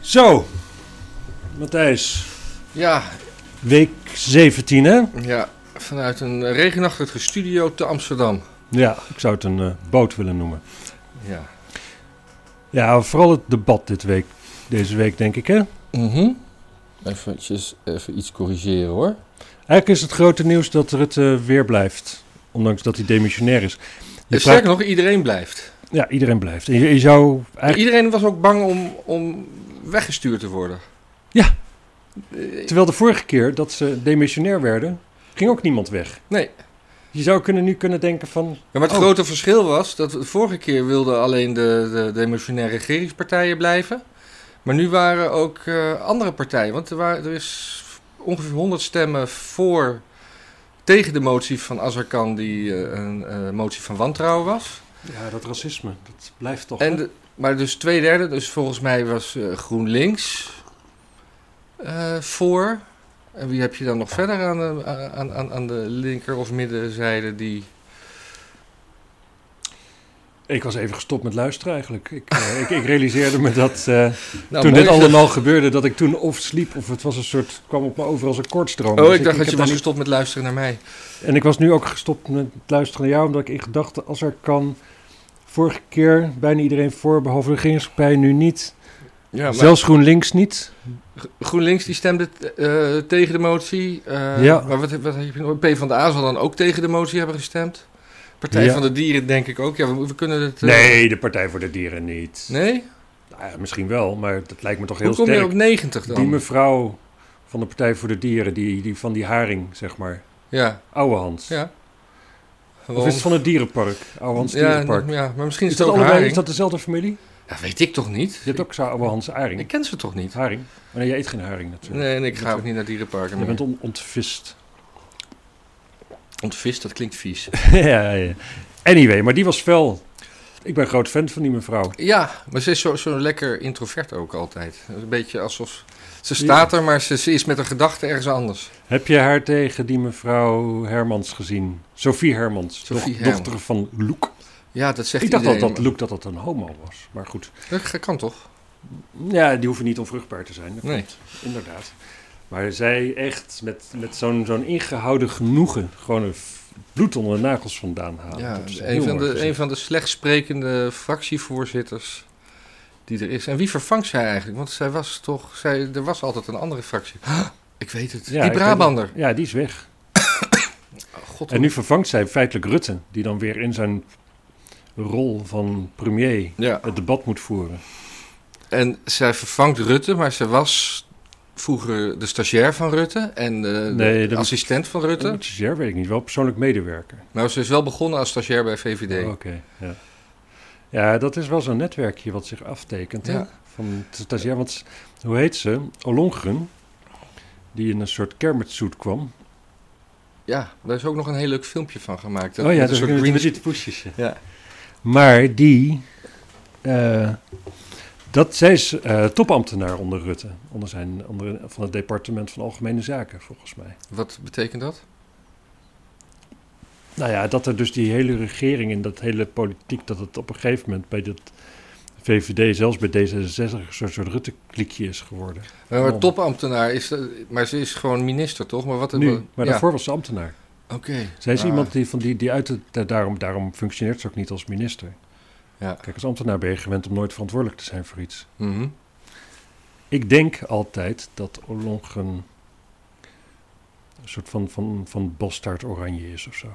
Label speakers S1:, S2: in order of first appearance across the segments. S1: Zo, Matthijs,
S2: Ja,
S1: week 17 hè?
S2: ja, vanuit een regenachtige studio te Amsterdam.
S1: Ja, ik zou het een eh, boot willen noemen.
S2: Ja.
S1: Ja, vooral het debat dit week, deze week denk ik hè?
S2: Mhm. Eventjes, even iets corrigeren hoor.
S1: Eigenlijk is het grote nieuws dat Rutte weer blijft, ondanks dat hij demissionair is. Je
S2: Sterker nog, iedereen blijft.
S1: praat- Ja, iedereen blijft. En je, je zou eigenlijk,
S2: Iedereen was ook bang om, om weggestuurd te worden.
S1: Ja.
S2: Eh,
S1: terwijl de vorige keer dat ze demissionair werden, ging ook niemand weg.
S2: Nee.
S1: Je zou kunnen, nu kunnen denken van,
S2: Ja, maar het
S1: Oh.
S2: grote verschil was dat de vorige keer wilden alleen de, de, de demissionaire regeringspartijen blijven. Maar nu waren ook eh, andere partijen. Want er, waren, er is ongeveer 100 stemmen voor tegen de motie van Azarkan, die eh, een eh, motie van wantrouwen was.
S1: ja dat racisme, dat blijft toch.
S2: En de- maar dus twee derde, dus volgens mij was eh, GroenLinks eh, voor. En wie heb je dan nog verder aan de, eh, aan, aan, aan de linker- of middenzijde die...
S1: Ik was even gestopt met luisteren eigenlijk. Ik, eh, ik, ik realiseerde me dat... eh,
S2: Nou,
S1: toen
S2: mooi
S1: dit
S2: is dat-
S1: allemaal gebeurde, dat ik toen of sliep of het was een soort, kwam op me over als een kortstroom.
S2: Oh,
S1: Dus
S2: ik dacht dat
S1: heb
S2: je
S1: daar
S2: was gestopt met luisteren naar mij.
S1: niet- En ik was nu ook gestopt met luisteren naar jou, omdat ik in gedachten, als er kan, vorige keer bijna iedereen voor, behalve de regeringspartij, nu niet.
S2: Ja, maar
S1: Zelfs GroenLinks niet.
S2: GroenLinks die stemde eh, tegen de motie. eh,
S1: Ja.
S2: Maar wat, wat heb je nog? P van de A zal dan ook tegen de motie hebben gestemd. Partij
S1: Ja.
S2: van de Dieren denk ik ook. Ja, we, we kunnen het... eh,
S1: Nee, de Partij voor de Dieren niet.
S2: Nee?
S1: Nou ja, misschien wel, maar dat lijkt me toch heel
S2: Hoe kom je
S1: sterk.
S2: op 90 dan?
S1: Die mevrouw van de Partij voor de Dieren, die, die van die haring, zeg maar.
S2: Ja,
S1: Ouwehand.
S2: ja.
S1: Of
S2: Gewoon-
S1: is het van het dierenpark? Ouwehands
S2: ja,
S1: dierenpark.
S2: ja, maar misschien is,
S1: Is dat,
S2: het ook
S1: allebei, is
S2: haring.
S1: dat dezelfde familie?
S2: Ja, weet ik toch niet?
S1: Je hebt ook oh, zo'n Ouwehands haring.
S2: Ik ken ze toch niet?
S1: Haring? Maar nee, je eet geen haring natuurlijk.
S2: Nee, en ik ga ook niet naar dierenparken
S1: Je
S2: meer.
S1: bent on- ontvist.
S2: Ontvist, dat klinkt vies.
S1: ja, ja. Anyway, maar die was fel. Ik ben groot fan van die mevrouw.
S2: Ja, maar ze is zo, zo lekker introvert ook altijd. Een beetje alsof... Ze staat er, maar ze, ze is met haar gedachten ergens anders.
S1: Heb je haar tegen die mevrouw Hermans gezien? Sophie Hermans,
S2: Sophie
S1: doch-
S2: Hermans.
S1: dochter van Loek.
S2: Ja, dat zegt
S1: Ik dacht al
S2: iedereen.
S1: dat Loek dat dat een homo was, maar goed.
S2: dat... dat kan toch?
S1: Ja, die hoeven niet onvruchtbaar te zijn, dat
S2: Nee.
S1: klopt. Inderdaad. Maar zij echt met, met zo'n zo'n ingehouden genoegen gewoon een f- bloed onder de nagels vandaan halen.
S2: ja,
S1: dat is echt
S2: een,
S1: heel
S2: van
S1: mooi
S2: de,
S1: gezien.
S2: een van de slecht sprekende fractievoorzitters die er is. En wie vervangt zij eigenlijk? Want zij was toch... Zij, er was altijd een andere fractie. Ik weet het.
S1: Ja,
S2: die
S1: ik weet
S2: Brabander.
S1: Ja, die is weg.
S2: Oh, God,
S1: En nu vervangt zij feitelijk Rutte, die dan weer in zijn rol van premier
S2: Ja.
S1: het debat moet voeren.
S2: En zij vervangt Rutte, maar ze was vroeger de stagiair van Rutte en eh, de,
S1: Nee, dat- Oh.
S2: assistent van Rutte.
S1: Dat is ja, weet ik niet, wel persoonlijk medewerker.
S2: Nou, ze is wel begonnen als stagiair bij VVD.
S1: Oh, Oké, ja. Ja, dat is wel zo'n netwerkje wat zich aftekent. hè,
S2: Ja.
S1: Van de stagiair, want s- hoe heet ze? Olongren, die in een soort kermitsuit kwam.
S2: Ja, daar is ook nog een heel leuk filmpje van gemaakt. Dat,
S1: oh ja, dat
S2: met een
S1: is
S2: soort
S1: met,
S2: green-
S1: met die poesjes. ja.
S2: Ja.
S1: Maar die, eh, dat, zij is eh, topambtenaar onder Rutte, onder zijn, onder, van het departement van Algemene Zaken, volgens mij.
S2: Wat betekent dat?
S1: Nou ja, dat er dus die hele regering en dat hele politiek, dat het op een gegeven moment bij dat VVD, zelfs bij D66, een soort, soort Rutte-klikje is geworden.
S2: Eh, Maar
S1: Oh.
S2: topambtenaar is, dat- maar ze is gewoon minister toch? Maar wat
S1: Nu, maar
S2: ja,
S1: daarvoor was ze ambtenaar.
S2: Oké.
S1: Zij is
S2: Ah,
S1: iemand die, van die, die uit het, da- daarom, daarom functioneert ze ook niet als minister.
S2: Ja.
S1: Kijk, als ambtenaar ben je gewend om nooit verantwoordelijk te zijn voor iets.
S2: mhm.
S1: Ik denk altijd dat Olongen een soort van, van, van bastaard oranje is of zo.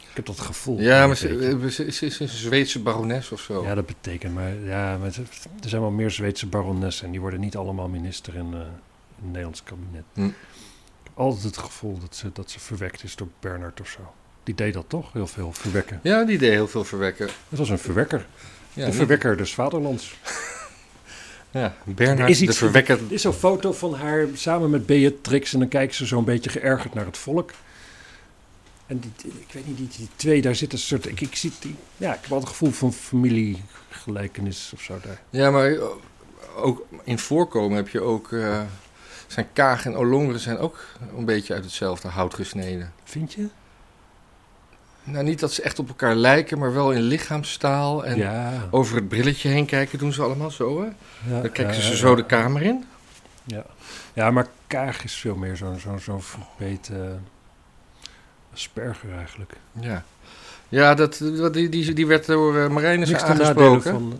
S1: Ik heb dat gevoel.
S2: Ja, maar
S1: Weet je.
S2: ze, eh, oh. ze- ze is een Zweedse barones of zo.
S1: Oh, Ja, dat betekent maar. Ja, maar ze- er zijn wel meer Zweedse baronessen en die worden niet allemaal minister in, eh, in het Nederlands kabinet.
S2: Hm.
S1: Ik heb altijd het gevoel dat ze, dat ze verwekt is door Bernard of zo. Die deed dat toch? Heel veel verwekken.
S2: Ja, die deed heel veel verwekken.
S1: Het was een verwekker.
S2: Ja,
S1: de
S2: niet-
S1: verwekker des vaderlands.
S2: Ja,
S1: Er
S2: Bernhard
S1: is
S2: de
S1: iets-
S2: verwekker.
S1: Er is zo'n foto van haar samen met Beatrix en dan kijkt ze zo'n beetje geërgerd naar het volk. En die, die- ik weet niet, die, die twee, daar zit een soort... Ik, ik, zie die, ja, ik heb wel het gevoel van familiegelijkenis of zo daar.
S2: Ja, maar eh, ook in voorkomen heb je ook. eh, zijn Kaag en Olongeren zijn ook een beetje uit hetzelfde hout gesneden.
S1: Vind je?
S2: Nou, niet dat ze echt op elkaar lijken, maar wel in lichaamstaal. En
S1: ja.
S2: over het brilletje heen kijken doen ze allemaal zo, hè?
S1: ja,
S2: Dan kijken
S1: ja,
S2: ze
S1: ja,
S2: zo
S1: ja.
S2: de kamer in.
S1: Ja, ja maar kaag is veel meer zo'n zo'n zo'n verbeten asperger eigenlijk.
S2: Ja, ja dat, die, die, die werd door eh Marijnus
S1: Niks ten nadele
S2: aangesproken.
S1: van...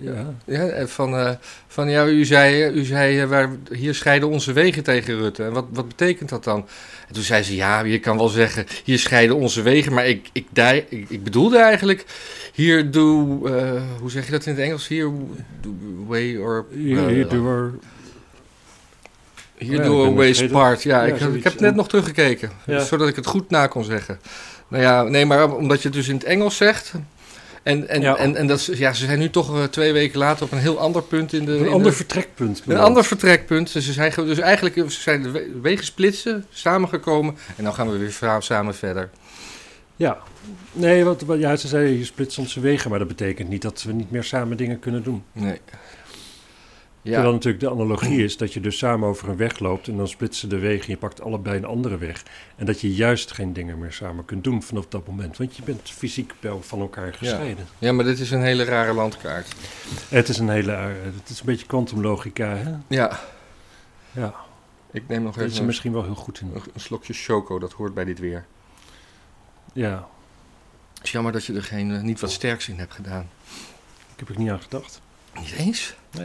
S1: Ja, ja.
S2: Ja, eh, van, eh, van ja, u zei, eh, u zei eh, waar, hier scheiden onze wegen tegen Rutte. En wat, wat betekent dat dan? En toen zei ze, ja, je kan wel zeggen, hier scheiden onze wegen. Maar ik, ik, dei- ik, ik bedoelde eigenlijk, hier do, eh, hoe zeg je dat in het Engels? Hier do way or... eh,
S1: Hier, hier doen we-
S2: Hier
S1: Ja, ik
S2: do
S1: ben
S2: a
S1: het
S2: ways
S1: vergeten.
S2: part. Ja,
S1: Ja,
S2: ik, heb- ik
S1: zoiets.
S2: heb net nog teruggekeken,
S1: Ja.
S2: zodat ik het goed na kon zeggen. Nou ja, nee, maar omdat je het dus in het Engels zegt... En, en,
S1: Ja.
S2: en, en dat, is- ja, ze zijn nu toch eh, twee weken later op een heel ander punt in de... in
S1: Een
S2: de-
S1: ander vertrekpunt.
S2: Een
S1: bedoel
S2: ander
S1: ik.
S2: vertrekpunt. Dus, ze zijn, ge- dus eigenlijk eh, ze zijn de we- wegen splitsen, samengekomen. En dan gaan we weer vra- samen verder.
S1: Ja. Nee, want want- ja, ze zei je splitst onze wegen, maar dat betekent niet dat we niet meer samen dingen kunnen doen.
S2: Nee. Ja,
S1: Terwijl natuurlijk de analogie is dat je dus samen over een weg loopt en dan splitsen de wegen en je pakt allebei een andere weg. En dat je juist geen dingen meer samen kunt doen vanaf dat moment, want je bent fysiek wel van elkaar gescheiden.
S2: ja, maar dit is een hele rare landkaart.
S1: Het is een hele, eh, het is een beetje kwantumlogica, hè?
S2: Ja,
S1: Ja,
S2: ik neem nog
S1: daar is
S2: even
S1: ze
S2: een,
S1: misschien wel heel goed in.
S2: een slokje choco. Dat hoort bij dit weer.
S1: Ja,
S2: Het is jammer dat je er geen, eh, niet wat sterks in hebt gedaan.
S1: ik heb ik niet aan gedacht.
S2: Niet eens?
S1: Ik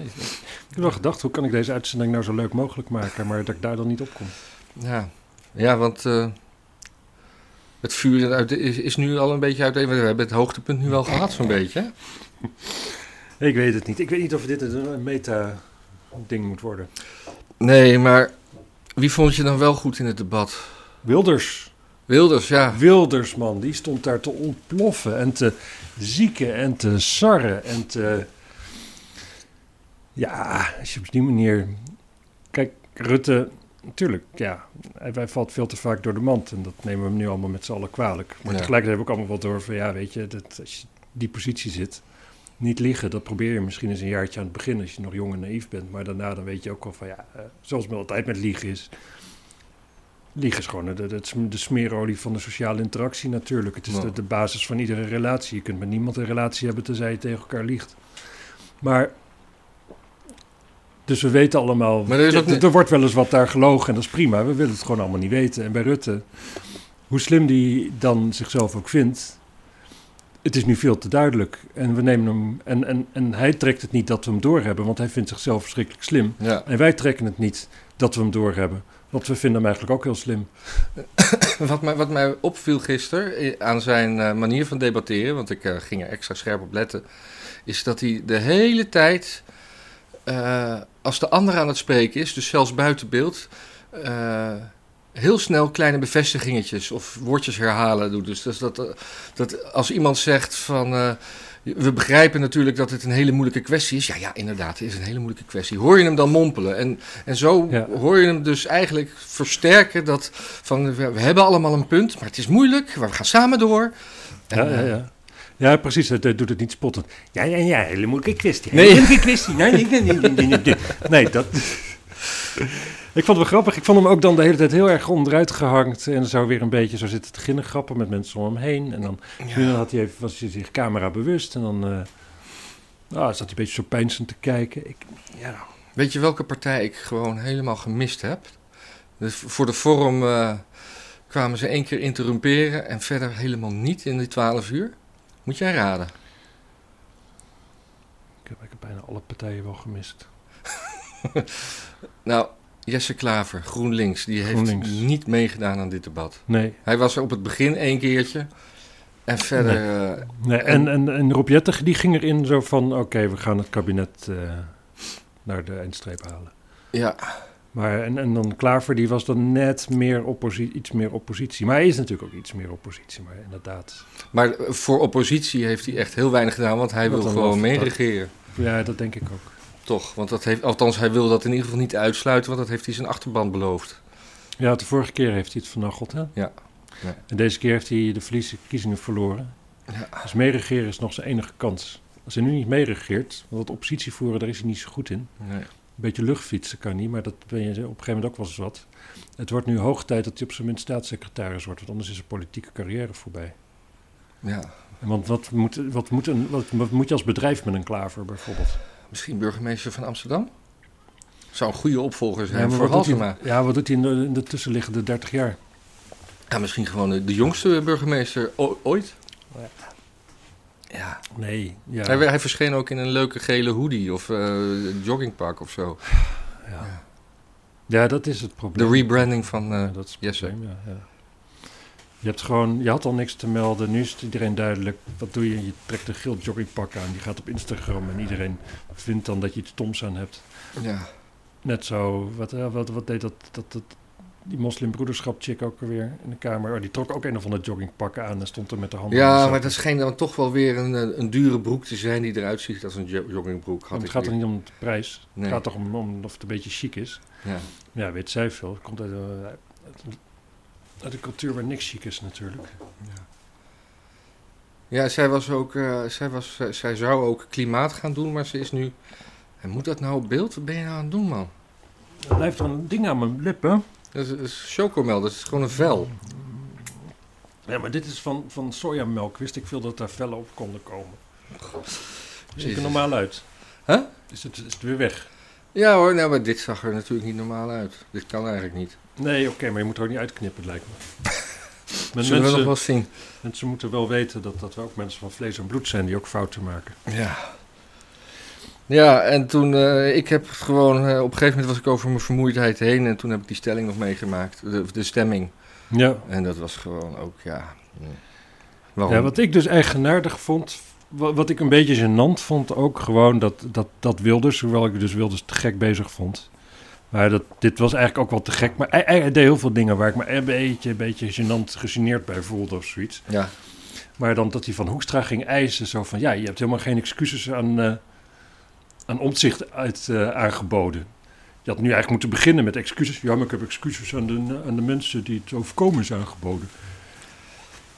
S1: heb wel gedacht, hoe kan ik deze uitzending nou zo leuk mogelijk maken, maar dat ik daar dan niet op kom.
S2: Ja, ja want eh, het vuur uit de- is, is nu al een beetje uit. We hebben het hoogtepunt nu wel gehad, zo'n beetje. hè?
S1: Ik weet het niet. Ik weet niet of dit een een meta-ding moet worden.
S2: Nee, maar wie vond je dan wel goed in het debat?
S1: Wilders.
S2: Wilders, ja.
S1: Wilders, man. Die stond daar te ontploffen en te zieken en te sarren en te... Ja, als je op die manier... Kijk, Rutte, natuurlijk, ja. Hij, hij valt veel te vaak door de mand en dat nemen we hem nu allemaal met z'n allen kwalijk. Maar
S2: Ja.
S1: tegelijkertijd heb ik ook allemaal wat door van, ja, weet je, dat, als je in die positie zit... Niet liggen, dat probeer je misschien eens een jaartje aan het begin als je nog jong en naïef bent. Maar daarna dan weet je ook wel van ja, eh, zoals het altijd met liegen is. Liegen is gewoon de, de, de smeerolie van de sociale interactie natuurlijk. Het is
S2: Ja.
S1: de, de basis van iedere relatie. Je kunt met niemand een relatie hebben tenzij je tegen elkaar liegt. Maar, dus we weten allemaal,
S2: Maar er is ook
S1: er,
S2: niet-
S1: er wordt wel eens wat daar gelogen en dat is prima. We willen het gewoon allemaal niet weten. En bij Rutte, hoe slim die dan zichzelf ook vindt, het is nu veel te duidelijk. En, we nemen hem, en, en, en hij trekt het niet dat we hem doorhebben, want hij vindt zichzelf verschrikkelijk slim.
S2: Ja.
S1: En wij trekken het niet dat we hem doorhebben, want we vinden hem eigenlijk ook heel slim.
S2: Wat mij, wat mij opviel gisteren aan zijn eh, manier van debatteren, want ik eh, ging er extra scherp op letten, is dat hij de hele tijd, eh, als de ander aan het spreken is, dus zelfs buiten beeld, eh, heel snel kleine bevestigingetjes of woordjes herhalen doet. Dus dat, dat, eh, dat als iemand zegt van. eh, we begrijpen natuurlijk dat het een hele moeilijke kwestie is. Ja, ja, inderdaad, het is een hele moeilijke kwestie. Hoor je hem dan mompelen? En, en zo
S1: Ja.
S2: hoor je hem dus eigenlijk versterken dat van we, we hebben allemaal een punt, maar het is moeilijk, maar we gaan samen door.
S1: Ja,
S2: En,
S1: ja,
S2: eh,
S1: ja. ja precies. Het eh, doet het niet spottend. Ja, ja, ja. Hele moeilijke kwestie.
S2: Nee.
S1: Hele moeilijke kwestie. Nee, nee, nee, nee, nee, nee, nee, nee. Nee, dat... Ik vond het wel grappig. Ik vond hem ook dan de hele tijd heel erg onderuit gehangt. En zou weer een beetje zo zitten te ginnen grappen met mensen om hem heen. En dan,
S2: eh,
S1: nu dan had hij even, was hij zich camera bewust. En dan eh, nou, zat hij een beetje zo pijnzend te kijken. Ik, ja,
S2: Weet je welke partij ik gewoon helemaal gemist heb? Dus voor de vorm eh, kwamen ze één keer interrumperen en verder helemaal niet in die 12 uur. Moet jij raden?
S1: ik, heb, ik heb bijna alle partijen wel gemist.
S2: Nou, Jesse Klaver, GroenLinks, die heeft
S1: GroenLinks.
S2: niet meegedaan aan dit debat.
S1: Nee.
S2: Hij was er op het begin één keertje en verder... eh,
S1: nee. En, en, en Rob Jetteg, die ging erin zo van... Oké, we gaan het kabinet eh, naar de eindstreep halen.
S2: ja,
S1: Maar en, en dan Klaver, die was dan net meer opposi- iets meer oppositie. Maar hij is natuurlijk ook iets meer oppositie, maar inderdaad.
S2: maar voor oppositie heeft hij echt heel weinig gedaan, want hij
S1: Wat
S2: wil
S1: een
S2: gewoon
S1: laffe tak.
S2: meeregeren.
S1: Ja, dat denk ik ook.
S2: Toch, want dat heeft, althans, hij wil dat in ieder geval niet uitsluiten, want dat heeft hij zijn achterban beloofd.
S1: Ja, de vorige keer heeft hij het vernacheld, hè?
S2: Ja. Ja.
S1: En deze keer heeft hij de verkiezingen verloren.
S2: Ja.
S1: Dus meeregeren is nog zijn enige kans. Als hij nu niet meeregeert, want dat oppositie voeren, daar is hij niet zo goed in. Een
S2: Nee.
S1: beetje luchtfietsen kan niet, maar dat ben je op een gegeven moment ook wel eens wat. Het wordt nu hoog tijd dat hij op zijn minst staatssecretaris wordt, want anders is zijn politieke carrière voorbij.
S2: Ja.
S1: Want wat moet, wat, moet een, wat, wat moet je als bedrijf met een klaver bijvoorbeeld?
S2: Misschien burgemeester van Amsterdam? Zou een goede opvolger zijn
S1: Ja, maar
S2: voor
S1: wat doet
S2: Halsema.
S1: hij, ja, wat doet hij in de, in de tussenliggende 30 jaar?
S2: Ja, misschien gewoon de, de jongste burgemeester o- ooit.
S1: Ja.
S2: Ja.
S1: Nee, ja.
S2: Hij, hij verscheen ook in een leuke gele hoodie of eh, joggingpak of zo.
S1: ja. ja, dat is het probleem.
S2: De rebranding van... eh,
S1: Ja, dat is het
S2: Yes, sir.
S1: probleem, ja, ja. Je, hebt gewoon, je had al niks te melden. Nu is het iedereen duidelijk. Wat doe je? Je trekt een geel joggingpak aan. Die gaat op Instagram en iedereen vindt dan dat je iets stoms aan hebt.
S2: ja.
S1: Net zo, wat, eh, wat, wat deed dat, dat, dat die moslimbroederschap chick ook alweer in de kamer? Oh, die trok ook een of ander joggingpak aan en stond er met de handen in de
S2: ja,
S1: zak.
S2: maar dat schijnt dan toch wel weer een, eh, een dure broek te zijn die eruit ziet als een jo- joggingbroek. Had
S1: Want
S2: ik
S1: het gaat er
S2: niet.
S1: niet om de prijs.
S2: Nee.
S1: Het gaat toch om, om of het een beetje chic is.
S2: Ja.
S1: Ja, weet zij veel. Het komt uit, eh, uit, uit een cultuur waar niks chic is natuurlijk.
S2: Ja, zij, was ook, eh, zij, was, zij- zij zou ook klimaat gaan doen, maar ze is nu... En moet dat nou op beeld? Wat ben je nou aan het doen, man?
S1: Er blijft wel een ding aan mijn lippen.
S2: Dat is, dat is chocomel, dat is gewoon een vel.
S1: Mm. Ja, maar dit is van, van sojamelk. Wist ik veel dat daar vellen op konden komen. Ziet
S2: Jezus.
S1: er normaal uit.
S2: Huh?
S1: Is het, is het weer weg?
S2: Ja hoor, nou, maar dit zag er natuurlijk niet normaal uit. Dit kan eigenlijk niet.
S1: Nee, oké, maar je moet er ook niet uitknippen, lijkt me.
S2: Dat
S1: Men-
S2: zullen we
S1: mensen,
S2: nog wel zien.
S1: mensen moeten wel weten dat, dat we ook mensen van vlees en bloed zijn die ook fouten maken.
S2: Ja. Ja, en toen, eh, ik heb het gewoon, eh, op een gegeven moment was ik over mijn vermoeidheid heen en toen heb ik die stelling nog meegemaakt, de, de stemming.
S1: Ja,
S2: En dat was gewoon ook, ja. mm. Waarom?
S1: Ja, wat ik dus eigenaardig vond, wa- wat ik een beetje gênant vond ook gewoon, dat, dat, dat Wilders, hoewel ik dus Wilders te gek bezig vond. Maar dat, dit was eigenlijk ook wel te gek. Maar hij, hij deed heel veel dingen waar ik me een beetje, een beetje gênant, gegeneerd bij voelde of zoiets.
S2: Ja,
S1: Maar dan dat hij van Hoekstra ging eisen, zo van, ja, je hebt helemaal geen excuses aan, eh aan omzicht uit, eh, aangeboden. Je had nu eigenlijk moeten beginnen met excuses. Ja, maar ik heb excuses aan de, aan de mensen die het overkomen is aangeboden.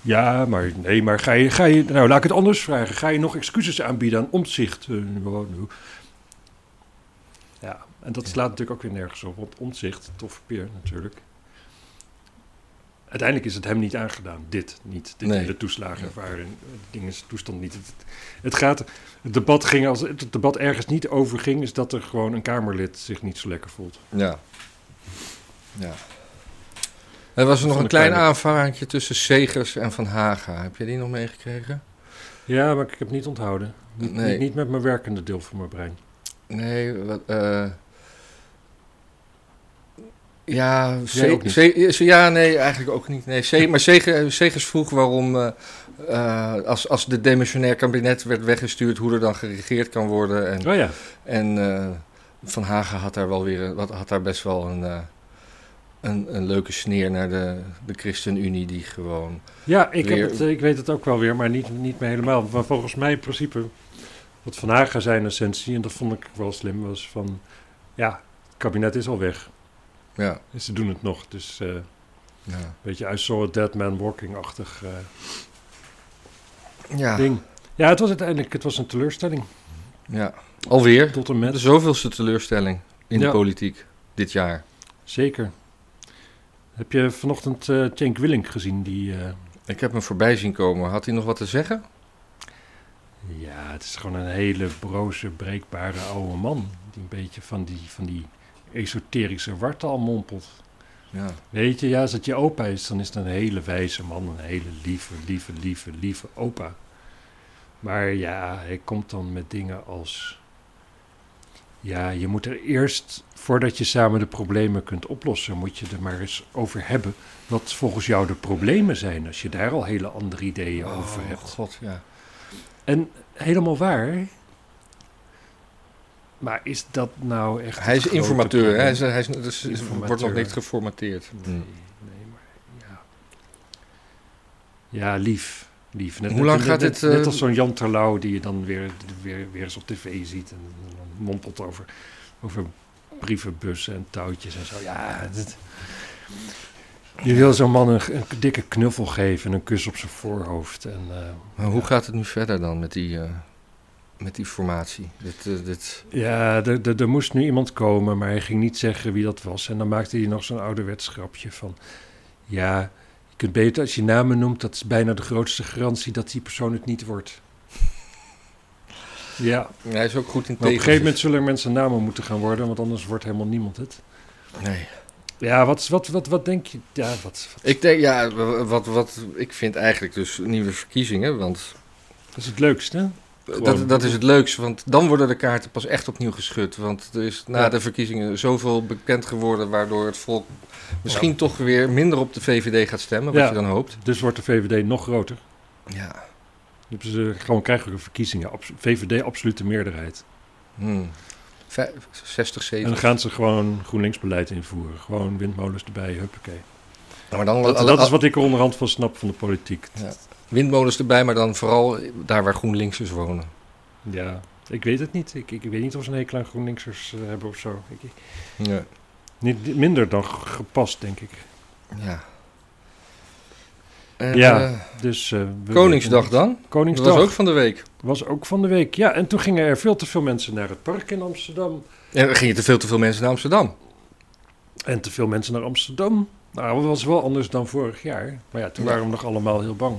S1: Ja, maar nee, maar ga je, ga je... Nou, laat ik het anders vragen. Ga je nog excuses aanbieden aan omzicht? nou. Ja, en dat slaat natuurlijk ook weer nergens op. Want omzicht, toffe peer natuurlijk. Uiteindelijk is het hem niet aangedaan. Dit niet. Dit
S2: Nee.
S1: hele toeslagenaffaire. Dingens toestand niet. Het, het gaat... Het debat, ging als het debat ergens niet over ging... is dat er gewoon een Kamerlid zich niet zo lekker voelt.
S2: ja. Ja. Er was er
S1: Van
S2: nog een
S1: de
S2: klein
S1: kleine-
S2: aanvaartje tussen Segers en Van Haga. Heb je die nog meegekregen?
S1: Ja, maar ik heb het niet onthouden. Niet,
S2: Nee.
S1: niet, niet met mijn werkende deel van mijn brein.
S2: Nee, wat, eh, ja,
S1: Jij ook
S2: Ze-
S1: niet?
S2: Ze- Ze- ja, nee, eigenlijk ook niet. Nee, Ze- maar Zege- Zegers vroeg waarom, eh, eh, als, als de demissionair kabinet werd weggestuurd, hoe er dan geregeerd kan worden. En,
S1: Oh ja.
S2: en eh, Van Hagen had daar, wel weer, een- wat- had daar best wel een, eh, een, een leuke sneer naar de, de ChristenUnie, die gewoon...
S1: Ja, ik, heb
S2: Weer-
S1: het, eh, ik weet het ook wel weer, maar niet, niet meer helemaal. Maar volgens mij in principe, wat Van Hagen zijn essentie, en dat vond ik wel slim, was van... Ja, het kabinet is al weg.
S2: Ja,
S1: En ze doen het nog. Dus eh, een
S2: ja.
S1: beetje I saw a dead man walking-achtig eh,
S2: ja,
S1: ding. Ja, het was uiteindelijk het was een teleurstelling.
S2: ja. alweer. Dus
S1: Tot en met.
S2: De zoveelste teleurstelling in de
S1: Ja.
S2: politiek dit jaar.
S1: Zeker. Heb je vanochtend eh Cenk Willink gezien? Die, eh,
S2: Ik heb hem voorbij zien komen. Had hij nog wat te zeggen?
S1: ja, het is gewoon een hele broze, breekbare oude man. Die een beetje van die, van die esoterische wartaal mompelt.
S2: Ja.
S1: Weet je, ja, als het je opa is, dan is het een hele wijze man. Een hele lieve, lieve, lieve, lieve opa. Maar ja, hij komt dan met dingen als... Ja, je moet er eerst, voordat je samen de problemen kunt oplossen... moet je er maar eens over hebben wat volgens jou de problemen zijn... als je daar al hele andere ideeën over
S2: Oh,
S1: hebt.
S2: god, ja.
S1: En helemaal waar... Maar is dat nou echt...
S2: Hij
S1: het
S2: is
S1: grote
S2: informateur. hè? Hij,
S1: probleem?
S2: is, hij is, dus er wordt nog
S1: Informateur.
S2: niks geformateerd.
S1: Nee,
S2: Hmm.
S1: nee, maar ja. Ja, lief. Lief. Net,
S2: Hoe
S1: net-
S2: lang
S1: net-
S2: gaat
S1: net-
S2: dit,
S1: Net,
S2: eh,
S1: als zo'n Jan Terlouw die je dan weer, weer, weer eens op tv ziet en dan mompelt over, over brievenbussen en touwtjes en zo. Ja, dit- je wil zo'n man een, een dikke knuffel geven en een kus op zijn voorhoofd. En, eh,
S2: Maar hoe gaat het nu verder dan met die, eh, met die formatie? Dit, eh, dit...
S1: ja, er- er er moest nu iemand komen, maar hij ging niet zeggen wie dat was. En dan maakte hij nog zo'n ouderwets grapje van... Ja, kunt beter, als je namen noemt, dat is bijna de grootste garantie dat die persoon het niet wordt. Ja, maar
S2: Hij is ook goed in
S1: op een gegeven moment
S2: tegenwicht.
S1: zullen er mensen namen moeten gaan worden, want anders wordt helemaal niemand het.
S2: Nee.
S1: Ja, wat, wat, wat, wat denk je? Ja, wat, wat-
S2: Ik denk, ja, w- wat, wat ik vind eigenlijk dus nieuwe verkiezingen, want eh,
S1: dat is het leukste. hè? Gewoon.
S2: dat, dat is het leukste, want dan worden de kaarten pas echt opnieuw geschud. Want er is na
S1: Ja.
S2: de verkiezingen zoveel bekend geworden, waardoor het volk misschien toch weer minder op de VVD gaat stemmen, wat
S1: Ja.
S2: je dan hoopt.
S1: Dus wordt de VVD nog groter.
S2: Ja.
S1: Dan hebben ze gewoon krijgen we verkiezingen. Abs- VVD absolute meerderheid.
S2: Hmm. Vijf- 60,
S1: En dan
S2: 70.
S1: gaan ze gewoon GroenLinks beleid invoeren. Gewoon windmolens erbij, huppakee.
S2: maar dan
S1: Dat,
S2: alle-
S1: dat is wat ik er onderhand van snap van de politiek.
S2: windmolens erbij, maar dan vooral daar waar GroenLinksers wonen.
S1: Ja, ik weet het niet. Ik, ik weet niet of ze een hekel aan GroenLinksers eh, hebben of zo. Ik,
S2: Ja.
S1: niet, niet- minder dan g- gepast, denk ik.
S2: ja. Eh,
S1: Ja.
S2: eh,
S1: Dus, eh, we-
S2: Koningsdag dan? Dat
S1: Koningsdag
S2: was ook van de week.
S1: van de week. Ja, en toen gingen er veel te veel mensen naar het park in Amsterdam.
S2: En er gingen te veel te veel mensen naar Amsterdam.
S1: En te veel mensen naar Amsterdam. Nou, dat was wel anders dan vorig jaar. Maar ja, toen
S2: Ja.
S1: waren we nog allemaal heel bang.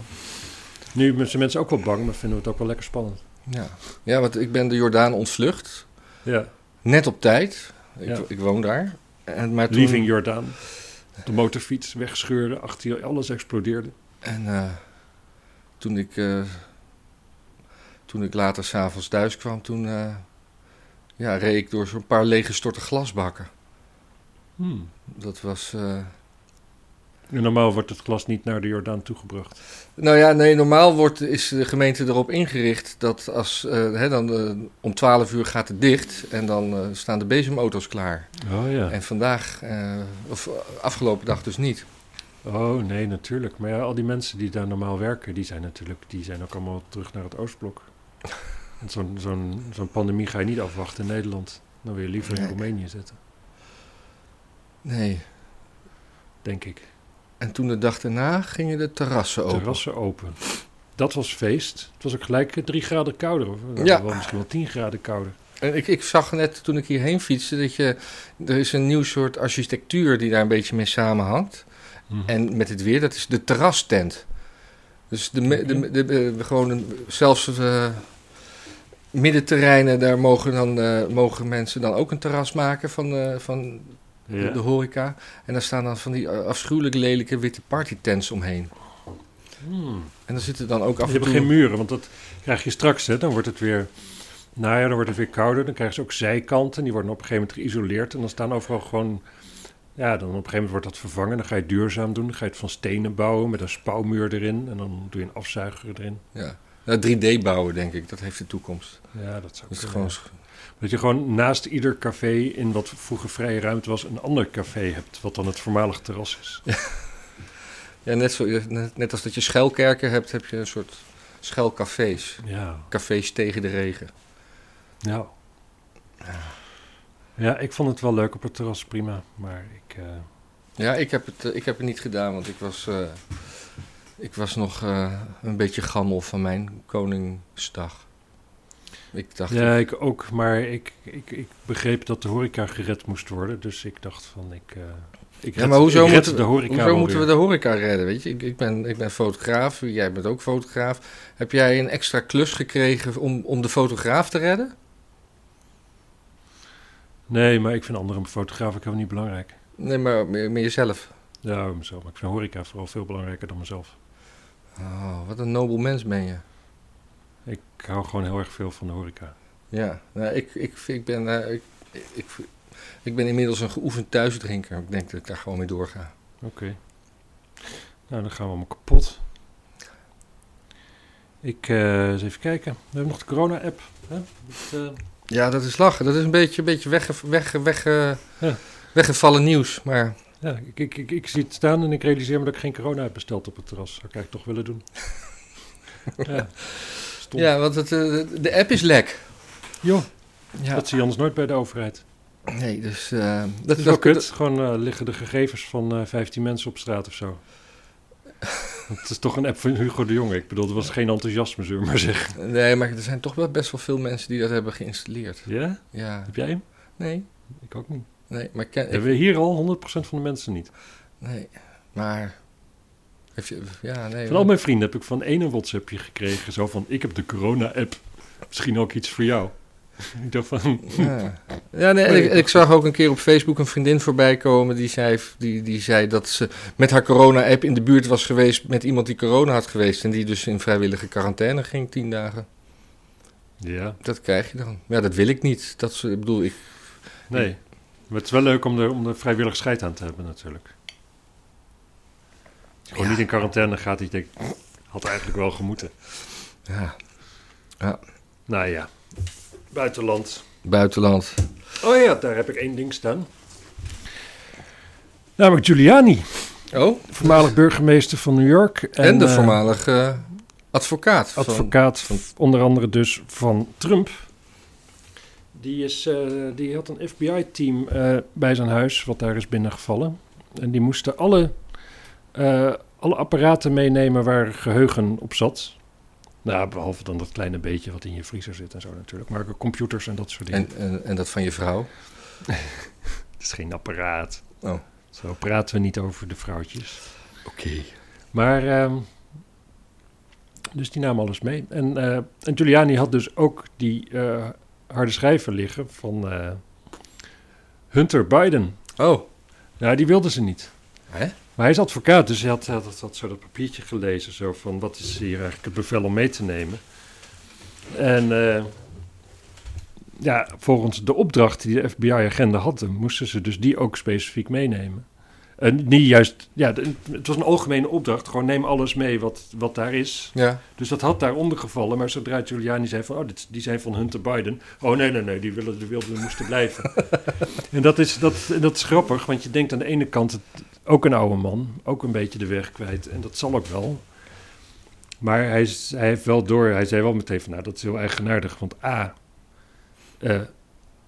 S1: Nu zijn mensen ook wel bang, maar vinden we het ook wel lekker spannend.
S2: Ja. ja, want ik ben de Jordaan ontvlucht.
S1: Ja,
S2: Net op tijd. Ik,
S1: Ja.
S2: ik woon daar. En, maar toen,
S1: Leaving Jordaan. De motorfiets wegscheurde, achter je, alles explodeerde.
S2: En eh, toen, ik, eh, toen ik later s'avonds thuis kwam, toen eh, ja, reed ik door zo'n paar lege storten glasbakken.
S1: Hmm.
S2: Dat was... eh,
S1: En normaal wordt het glas niet naar de Jordaan toegebracht.
S2: Nou ja, nee, normaal wordt, is de gemeente erop ingericht dat als, eh, hè, dan, eh, om 12 uur gaat het dicht en dan eh, staan de bezemauto's klaar.
S1: Oh ja.
S2: En vandaag, eh, of eh, afgelopen dag dus niet.
S1: Oh nee, natuurlijk. Maar ja, al die mensen die daar normaal werken, die zijn natuurlijk die zijn ook allemaal terug naar het Oostblok. Want zo'n zo'n zo'n pandemie ga je niet afwachten in Nederland. Dan wil je liever in
S2: Nee.
S1: Roemenië zitten,
S2: Nee.
S1: denk ik.
S2: En toen de dag daarna gingen de terrassen open.
S1: Terrassen open. Dat was feest. Het was ook gelijk eh, drie graden kouder. Of, eh,
S2: Ja.
S1: wel, misschien wel tien graden kouder.
S2: En ik, ik zag net toen ik hierheen fietste dat je, er is een nieuw soort architectuur die daar een beetje mee samenhangt.
S1: Hm.
S2: En met het weer, dat is de terrastent. Dus de, me- de, de, de- gewoon een- zelfs eh, middenterreinen, daar mogen, dan, eh, mogen mensen dan ook een terras maken van, eh, van de-
S1: Ja.
S2: de horeca. En daar staan dan van die eh, afschuwelijk lelijke witte partytents omheen.
S1: Hm.
S2: En daar zitten dan ook af
S1: Dus Je hebt
S2: en toe...
S1: geen muren, want dat krijg je straks. Hè? Dan wordt het weer. Nou ja, dan wordt het weer kouder. Dan krijgen ze ook zijkanten. Die worden op een gegeven moment geïsoleerd. En dan staan overal gewoon. Ja, dan op een gegeven moment wordt dat vervangen. Dan ga je het duurzaam doen. Dan ga je het van stenen bouwen met een spouwmuur erin. En dan doe je een afzuiger erin.
S2: ja. Nou, 3D bouwen, denk ik. Dat heeft de toekomst.
S1: Ja, dat zou
S2: Dat is
S1: kunnen,
S2: gewoon...
S1: ja. Dat je gewoon naast ieder café in wat vroeger vrije ruimte was, een ander café hebt. Wat dan het voormalig terras is.
S2: Ja, net, zo, net, net als dat je schuilkerken hebt, heb je een soort schuilcafés.
S1: Ja,
S2: Cafés tegen de regen.
S1: nou. Ja, ik vond het wel leuk op het terras, prima. Maar ik. eh,
S2: Ja, ik heb het, eh, ik heb het niet gedaan, want ik was, eh, ik was nog eh, een beetje gammel van mijn Koningsdag. Ik dacht,
S1: Ja, ik ook, maar ik, ik, ik begreep dat de horeca gered moest worden. Dus ik dacht van, ik, eh, ik
S2: Ja,
S1: red-
S2: maar hoezo
S1: ik red
S2: moeten-
S1: de horeca
S2: hoezo
S1: wel
S2: moeten we
S1: weer.
S2: de horeca redden? Weet je, ik, ik, ben, ik ben fotograaf, jij bent ook fotograaf. Heb jij een extra klus gekregen om, om de fotograaf te redden?
S1: Nee, maar ik vind andere fotografen ook helemaal niet belangrijk.
S2: Nee, maar meer, meer jezelf.
S1: Ja, mezelf. Maar ik vind horeca vooral veel belangrijker dan mezelf.
S2: Oh, wat een nobel mens ben je.
S1: Ik hou gewoon heel erg veel van de horeca.
S2: Ja, nou, ik, ik, ik, ben, eh, ik, ik, ik ben inmiddels een geoefend thuisdrinker. Ik denk dat ik daar gewoon mee doorga.
S1: Nou, dan gaan we allemaal kapot. Ik, eh, eens even kijken. We hebben nog de corona-app. hè? Dat, eh,
S2: Ja, dat is lachen. Dat is een beetje, een beetje wegge, wegge, wegge,
S1: Ja.
S2: weggevallen nieuws. Maar
S1: ja, ik, ik, ik, ik zie het staan en ik realiseer me dat ik geen corona heb besteld op het terras. Zou ik eigenlijk toch willen doen. ja, stom.
S2: ja, want het, eh, de- de app is lek.
S1: Joh,
S2: Ja.
S1: dat zie je anders nooit bij de overheid.
S2: Nee, dus eh,
S1: Dat
S2: dat
S1: is wel kut.
S2: dat-
S1: Gewoon eh, liggen de gegevens van eh, 15 mensen op straat of zo. Het is toch een app van Hugo de Jonge. Ik bedoel, er was geen enthousiasme, zullen we maar zeggen.
S2: Nee, maar er zijn toch wel best wel veel mensen die dat hebben geïnstalleerd.
S1: Ja?
S2: Ja,
S1: Heb jij hem?
S2: nee,
S1: Ik ook niet.
S2: nee, maar ik ken, ik-
S1: Hebben we hier al 100% van de mensen niet.
S2: nee, maar Heb je, ja, nee.
S1: Van al mijn vrienden heb ik van één een WhatsAppje gekregen. Zo van, ik heb de corona-app. Misschien ook iets voor jou. ik dacht van,
S2: Ja, ja nee, en ik, en ik zag ook een keer op Facebook een vriendin voorbij komen die zei, die, die zei dat ze met haar corona-app in de buurt was geweest met iemand die corona had geweest en die dus in vrijwillige quarantaine ging tien dagen.
S1: ja,
S2: Dat krijg je dan. Ja, dat wil ik niet. Dat, is- ik bedoel, ik,
S1: nee. Maar het is wel leuk om er om de vrijwillig scheid aan te hebben natuurlijk. Als je Gewoon
S2: Ja.
S1: niet in quarantaine gaat. Ik denk, had eigenlijk wel gemoeten.
S2: ja,
S1: Nou ja, buitenland.
S2: buitenland.
S1: Oh ja, daar heb ik één ding staan. Namelijk Giuliani,
S2: Oh,
S1: voormalig burgemeester van New York.
S2: en, de
S1: eh,
S2: voormalige eh, advocaat. van-
S1: advocaat,
S2: van-
S1: onder andere dus van Trump. Die, is, eh, die had een FBI-team eh, bij zijn huis, wat daar is binnengevallen. En die moesten alle, eh, alle apparaten meenemen waar geheugen op zat. Nou, behalve dan dat kleine beetje wat in je vriezer zit en zo natuurlijk. Maar ook computers en dat soort dingen.
S2: en, en, en dat van je vrouw.
S1: Het is geen apparaat.
S2: Oh.
S1: Zo praten we niet over de vrouwtjes.
S2: Oké.
S1: Maar, ehm, dus die nam alles mee. En, eh, en Giuliani had dus ook die eh, harde schijven liggen van eh, Hunter Biden.
S2: Oh,
S1: Nou, die wilden ze niet.
S2: hè?
S1: Maar hij is advocaat, dus hij had, had, had, had zo dat papiertje gelezen. Zo van, wat is hier eigenlijk het bevel om mee te nemen? En eh, ja, volgens de opdracht die de FBI-agenda hadden... moesten ze dus die ook specifiek meenemen. En niet juist... Ja, de- het was een algemene opdracht. Gewoon neem alles mee wat, wat daar is.
S2: Ja.
S1: Dus dat had daaronder gevallen. Maar zodra Giuliani zei van... Oh, dit, die zijn van Hunter Biden. Oh, nee, nee, nee. Die willen, die wilden, moesten blijven. en dat is, dat, en dat is grappig. Want je denkt aan de ene kant... Het, ook een oude man. Ook een beetje de weg kwijt. En dat zal ook wel. Maar hij, is- hij heeft wel door... Hij zei wel meteen van... Nou, dat is heel eigenaardig. Want A... eh,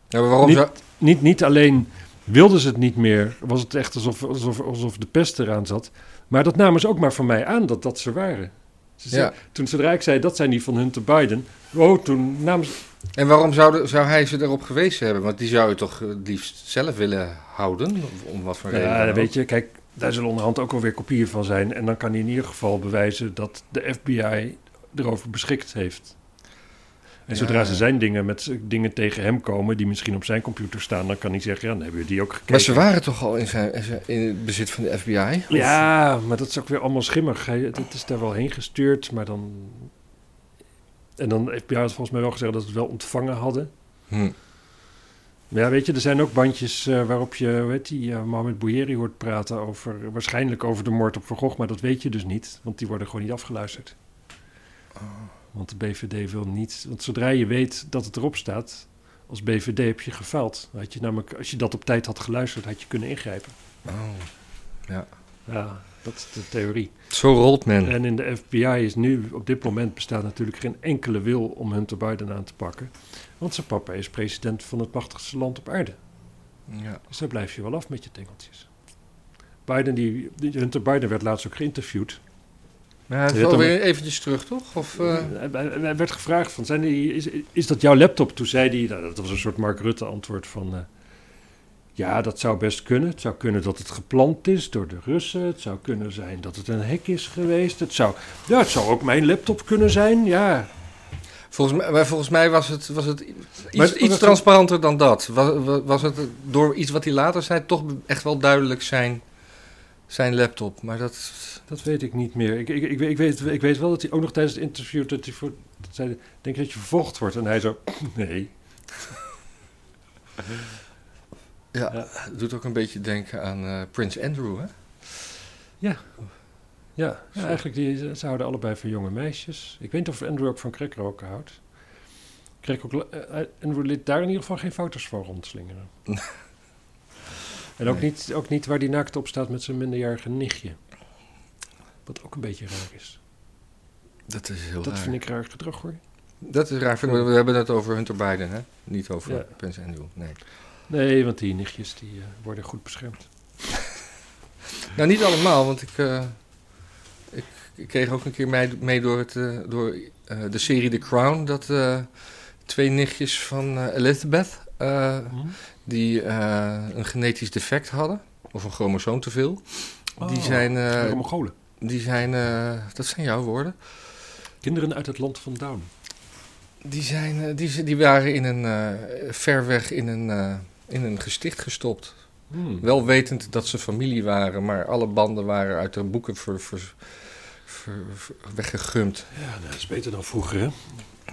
S2: ja maar waarom
S1: Niet-
S2: zou...
S1: niet, niet alleen wilden ze het niet meer... Was het echt alsof, alsof, alsof de pest eraan zat. Maar dat namen ze ook maar van mij aan dat dat ze waren. Ze zei-
S2: Ja.
S1: toen zodra ik zei, dat zijn die van Hunter Biden. Oh, toen namen ze...
S2: En waarom zou, zou hij ze erop gewezen hebben? Want die zou je toch eh, het liefst zelf willen houden? Of Om wat voor reden
S1: Ja,
S2: dan ook?
S1: weet je, kijk, daar zullen onderhand ook alweer kopieën van zijn. En dan kan hij in ieder geval bewijzen dat de FBI erover beschikt heeft. En
S2: Ja.
S1: zodra ze zijn dingen, met, z- dingen tegen hem komen die misschien op zijn computer staan, dan kan hij zeggen, ja, dan hebben we die ook gekeken.
S2: Maar ze waren toch al in, zijn, in het bezit van de FBI? Of-
S1: Ja, maar dat is ook weer allemaal schimmig. Hij, het is daar wel heen gestuurd, maar dan... En dan heeft FBI had volgens mij wel gezegd dat ze het wel ontvangen hadden.
S2: Hm.
S1: Maar Ja, weet je, er zijn ook bandjes eh, waarop je, weet die, eh, Mohamed Bouyeri hoort praten over, waarschijnlijk over de moord op Van Gogh, maar dat weet je dus niet, want die worden gewoon niet afgeluisterd. Want de BVD wil niet, want zodra je weet dat het erop staat, als BVD heb je gefaald. Had je namelijk, als je dat op tijd had geluisterd, had je kunnen ingrijpen.
S2: Oh.
S1: Ja, dat is de theorie.
S2: Zo rolt men.
S1: En in de FBI is nu, op dit moment bestaat natuurlijk geen enkele wil om Hunter Biden aan te pakken, want zijn papa is president van het machtigste land op aarde.
S2: Ja.
S1: Dus daar blijf je wel af met je tengeltjes. Biden, die, die- Hunter Biden werd laatst ook geïnterviewd.
S2: Maar hij
S1: Je
S2: is
S1: hebt
S2: alweer eventjes terug, toch? Of, eh,
S1: Hij- hij- hij werd gevraagd van, zijn die, is, is dat jouw laptop? Toen zei hij, nou, dat was een soort Mark Rutte antwoord van... eh, ja, dat zou best kunnen. Het zou kunnen dat het gepland is door de Russen. Het zou kunnen zijn dat het een hek is geweest. Het zou, ja, het zou ook mijn laptop kunnen zijn, ja.
S2: volgens, mij, maar volgens mij was het, was het iets,
S1: Maar het-
S2: iets transparanter dan dat. Was, wa- was het door iets wat hij later zei toch echt wel duidelijk zijn, zijn laptop? Maar dat...
S1: Dat weet ik niet meer. Ik, ik, ik, weet- ik, weet, ik weet wel dat hij ook nog tijdens het interview... Dat hij voor, dat zei, denk je dat je vervolgd wordt? En hij zo, nee.
S2: Ja,
S1: Ja.
S2: doet ook een beetje denken aan eh, Prins Andrew, hè?
S1: Ja, ja,
S2: Zo.
S1: eigenlijk die, ze houden allebei van jonge meisjes. Ik weet niet of Andrew ook van crackroken houdt. Crack ook, eh, Andrew liet daar in ieder geval geen foto's van rondslingeren. en ook,
S2: Nee.
S1: niet, ook niet waar die naakt op staat met zijn minderjarige nichtje. Wat ook een beetje raar is.
S2: Dat is heel
S1: Dat vind ik raar gedrag hoor.
S2: Dat is raar. vind ik. We hebben het over Hunter Biden, hè? Niet over
S1: Ja.
S2: Prins Andrew. Nee.
S1: Nee, want die nichtjes die eh, worden goed beschermd.
S2: Nou, niet allemaal, want ik, eh, ik, ik kreeg ook een keer mee, mee door, het, eh, door eh, de serie The Crown dat eh, twee nichtjes van eh, Elizabeth, eh,
S1: Hm?
S2: die eh, een genetisch defect hadden, of een chromosoom te veel,
S1: Oh,
S2: die zijn. eh,
S1: Mongolen.
S2: die zijn, eh, dat zijn jouw woorden,
S1: Kinderen uit het land van Down.
S2: die, zijn, eh, die, die waren in een, eh, ver weg in een, eh, in een gesticht gestopt.
S1: Hmm.
S2: Wel wetend dat ze familie waren, maar alle banden waren uit de boeken ver, ver, ver- ver- weggegumd.
S1: Ja, nou, dat is beter dan vroeger, hè?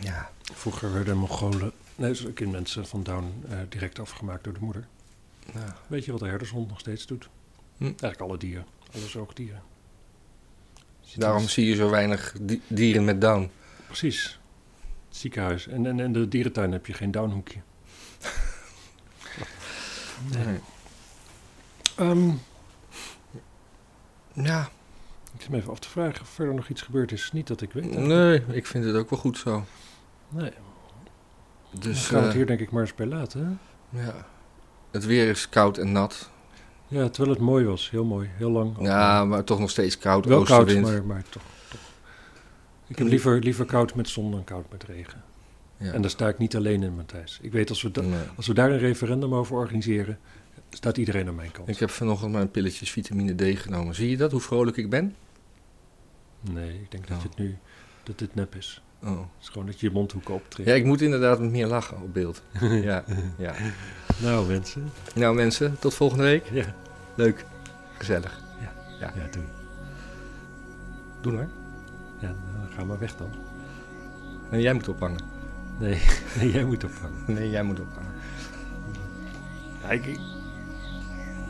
S2: Ja.
S1: Vroeger werden Mongolen, nee, zo- kindmensen van Down eh, direct afgemaakt door de moeder.
S2: ja.
S1: Weet je wat de herdershond nog steeds doet?
S2: Hm.
S1: Eigenlijk alle dieren, alle zoogdieren. Zit
S2: Daarom
S1: in-
S2: zie je zo weinig di- dieren met down.
S1: Precies. Het ziekenhuis. En in en de dierentuin heb je geen downhoekje.
S2: Nee.
S1: Ehm,
S2: Ja,
S1: ik zit me even af te vragen of verder nog iets gebeurd is. Niet dat ik weet. eigenlijk.
S2: nee, ik vind het ook wel goed zo.
S1: nee. Dus
S2: Dus,
S1: gaan we het
S2: eh,
S1: hier denk ik maar eens bij laten. Hè?
S2: ja. Het weer is koud en nat.
S1: Ja, terwijl het mooi was. Heel mooi. Heel lang.
S2: Ja, maar toch nog steeds koud.
S1: Oh, wel koud,
S2: oostenwind.
S1: maar, maar toch, toch. Ik heb liever, liever koud met zon dan koud met regen.
S2: Ja. Mm.
S1: En daar sta ik niet alleen in, Matthijs. Ik weet als we, da-
S2: Nee.
S1: als we daar een referendum over organiseren, staat iedereen aan mijn kant.
S2: Ik heb vanochtend mijn pilletjes vitamine D genomen. Zie je dat, hoe vrolijk ik ben?
S1: Nee, ik denk dat,
S2: Oh.
S1: je het nu, dat dit nep is.
S2: Oh.
S1: Het is gewoon dat je je mondhoeken optrekt.
S2: Ja, ik moet inderdaad met meer lachen op beeld. ja, ja.
S1: Nou, mensen.
S2: Nou mensen, tot volgende week.
S1: Ja,
S2: Leuk. Gezellig.
S1: ja doei.
S2: Doen hoor.
S1: Ja, nou, ga maar weg dan.
S2: Nee, jij moet ophangen.
S1: Nee, nee jij moet opvangen.
S2: Nee, jij moet ophangen.
S1: Ja, ik-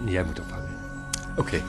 S1: Jij moet opvangen.
S2: Oké.